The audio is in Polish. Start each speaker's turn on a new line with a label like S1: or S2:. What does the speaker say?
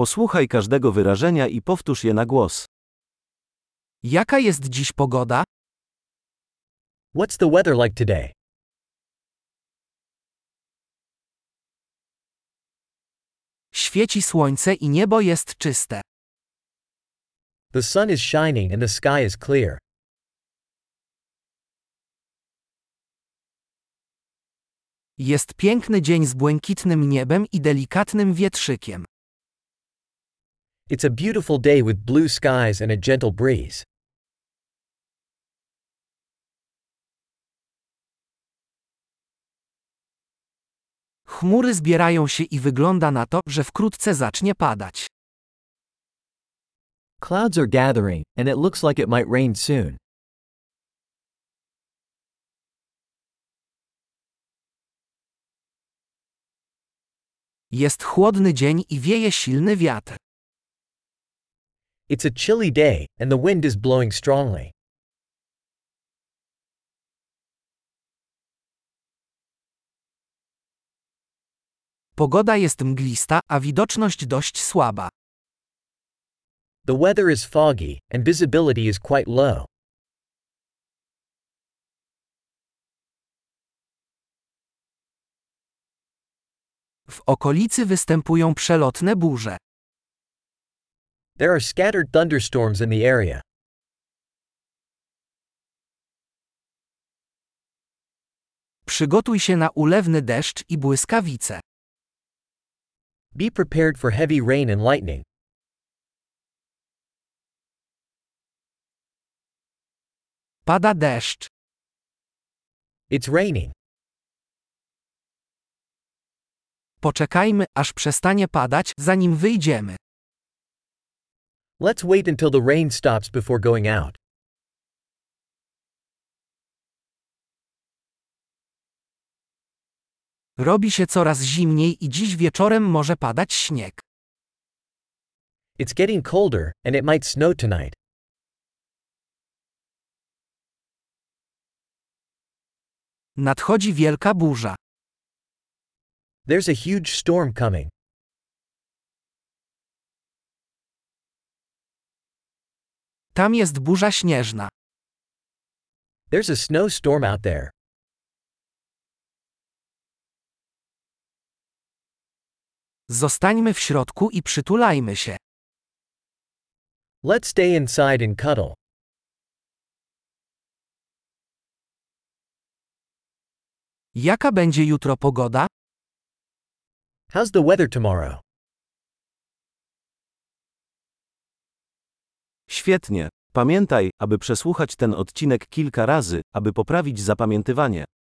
S1: Posłuchaj każdego wyrażenia i powtórz je na głos.
S2: Jaka jest dziś pogoda?
S3: What's the weather like today?
S2: Świeci słońce i niebo jest czyste.
S3: The sun is shining and the sky is clear.
S2: Jest piękny dzień z błękitnym niebem i delikatnym wietrzykiem.
S3: It's a beautiful day with blue skies and a gentle breeze.
S2: Chmury zbierają się i wygląda na to, że wkrótce zacznie padać.
S3: Clouds are gathering, and it looks like it might rain soon.
S2: Jest chłodny dzień i wieje silny wiatr.
S3: It's a chilly day, and the wind is blowing strongly.
S2: Pogoda jest mglista, a widoczność dość słaba.
S3: The weather is foggy, and visibility is quite low.
S2: W okolicy występują przelotne burze.
S3: There are scattered thunderstorms in the area.
S2: Przygotuj się na ulewny deszcz i błyskawice.
S3: Be prepared for heavy rain and lightning.
S2: Pada deszcz.
S3: It's raining.
S2: Poczekajmy, aż przestanie padać, zanim wyjdziemy.
S3: Let's wait until the rain stops before going out.
S2: Robi się coraz zimniej i dziś wieczorem może padać śnieg.
S3: It's getting colder, and it might snow tonight.
S2: Nadchodzi wielka burza.
S3: There's a huge storm coming.
S2: Tam jest burza śnieżna.
S3: There's a snowstorm out there.
S2: Zostańmy w środku i przytulajmy się.
S3: Let's stay inside and cuddle.
S2: Jaka będzie jutro pogoda?
S3: How's the weather tomorrow?
S1: Świetnie. Pamiętaj, aby przesłuchać ten odcinek kilka razy, aby poprawić zapamiętywanie.